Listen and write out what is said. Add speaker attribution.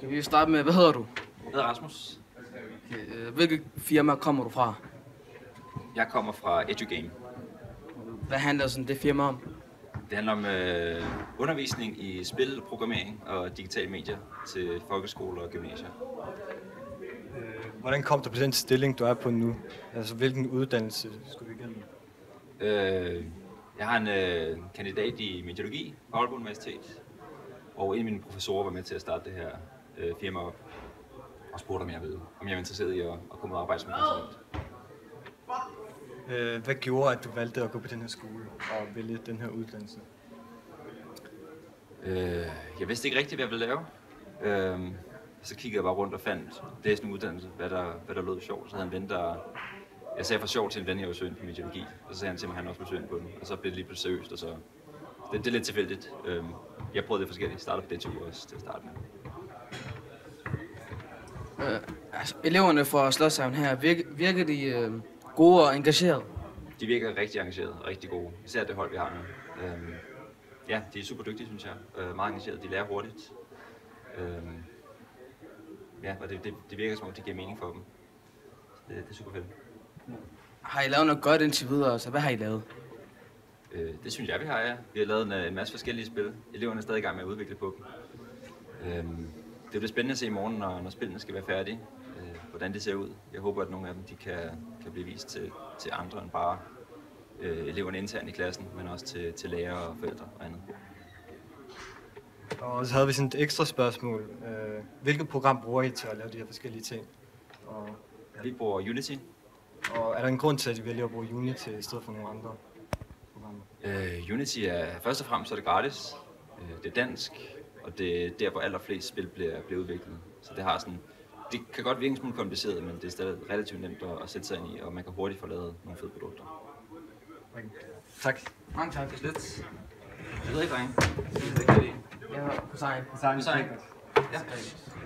Speaker 1: Kan vi starte med, hvad hedder du?
Speaker 2: Jeg hedder Rasmus.
Speaker 1: Okay, øh, hvilket firma kommer du fra?
Speaker 2: Jeg kommer fra EduGame.
Speaker 1: Hvad handler sådan det firma om?
Speaker 2: Det handler om øh, undervisning i spil, programmering og digitale medier til folkeskoler og gymnasier.
Speaker 3: Hvordan kom du på den stilling, du er på nu? Altså, hvilken uddannelse skulle du igennem?
Speaker 2: Øh, jeg har en øh, kandidat i mediologi fra Aalborg Universitet, og en af mine professorer var med til at starte det her øh, firma op og spurgte, om jeg, ved, om jeg var interesseret i at, at komme ud og arbejde som konsulent.
Speaker 3: Øh, hvad gjorde, at du valgte at gå på den her skole og vælge den her uddannelse?
Speaker 2: Øh, jeg vidste ikke rigtigt, hvad jeg ville lave. Øh, så kiggede jeg bare rundt og fandt, det er sådan en uddannelse, hvad der, hvad der lød sjovt. Så havde en ven, der... Jeg sagde for sjov til en ven, jeg var søgende på meteorologi, og så sagde han til mig, at han også var søgende på den. Og så blev det lige pludselig seriøst, og så... Det, det er lidt tilfældigt. Øh, jeg prøvede det forskelligt. Startede på DTU også til at starte med.
Speaker 1: Øh, altså, eleverne fra Slottshavn her, virker, virker de øh, gode og engagerede?
Speaker 2: De virker rigtig engagerede og rigtig gode. Især det hold, vi har nu. Øhm, ja, de er super dygtige, synes jeg. Øh, meget engagerede. De lærer hurtigt. Øhm, ja, og det, det, det virker som om, det giver mening for dem. Så det, det er super fedt.
Speaker 1: Har I lavet noget godt indtil videre? Så hvad har I lavet?
Speaker 2: Øh, det synes jeg, vi har, ja. Vi har lavet en, øh, en masse forskellige spil. Eleverne er stadig i gang med at udvikle på dem. Øhm, det bliver spændende at se i morgen, når, når spillene skal være færdige, øh, hvordan det ser ud. Jeg håber, at nogle af dem de kan, kan blive vist til, til andre end bare øh, eleverne internt i klassen, men også til, til lærere og forældre og andet.
Speaker 3: Og så havde vi sådan et ekstra spørgsmål. Øh, hvilket program bruger I til at lave de her forskellige ting? Og,
Speaker 2: Vi bruger Unity.
Speaker 3: og er der en grund til, at I vælger at bruge Unity i stedet for nogle andre programmer?
Speaker 2: Øh, Unity er først og fremmest er det gratis. Øh, det er dansk, og det er der, hvor allerflest spil bliver, bliver udviklet. Så det har sådan... Det kan godt virke en smule kompliceret, men det er stadig relativt nemt at, at sætte sig ind i, og man kan hurtigt få lavet nogle fede produkter.
Speaker 3: Okay. Tak.
Speaker 1: Mange tak.
Speaker 2: Lidt. Jeg ved ikke, drenge. Det er ikke det.
Speaker 1: Jeg har Hussein.
Speaker 2: Hussein. Ja.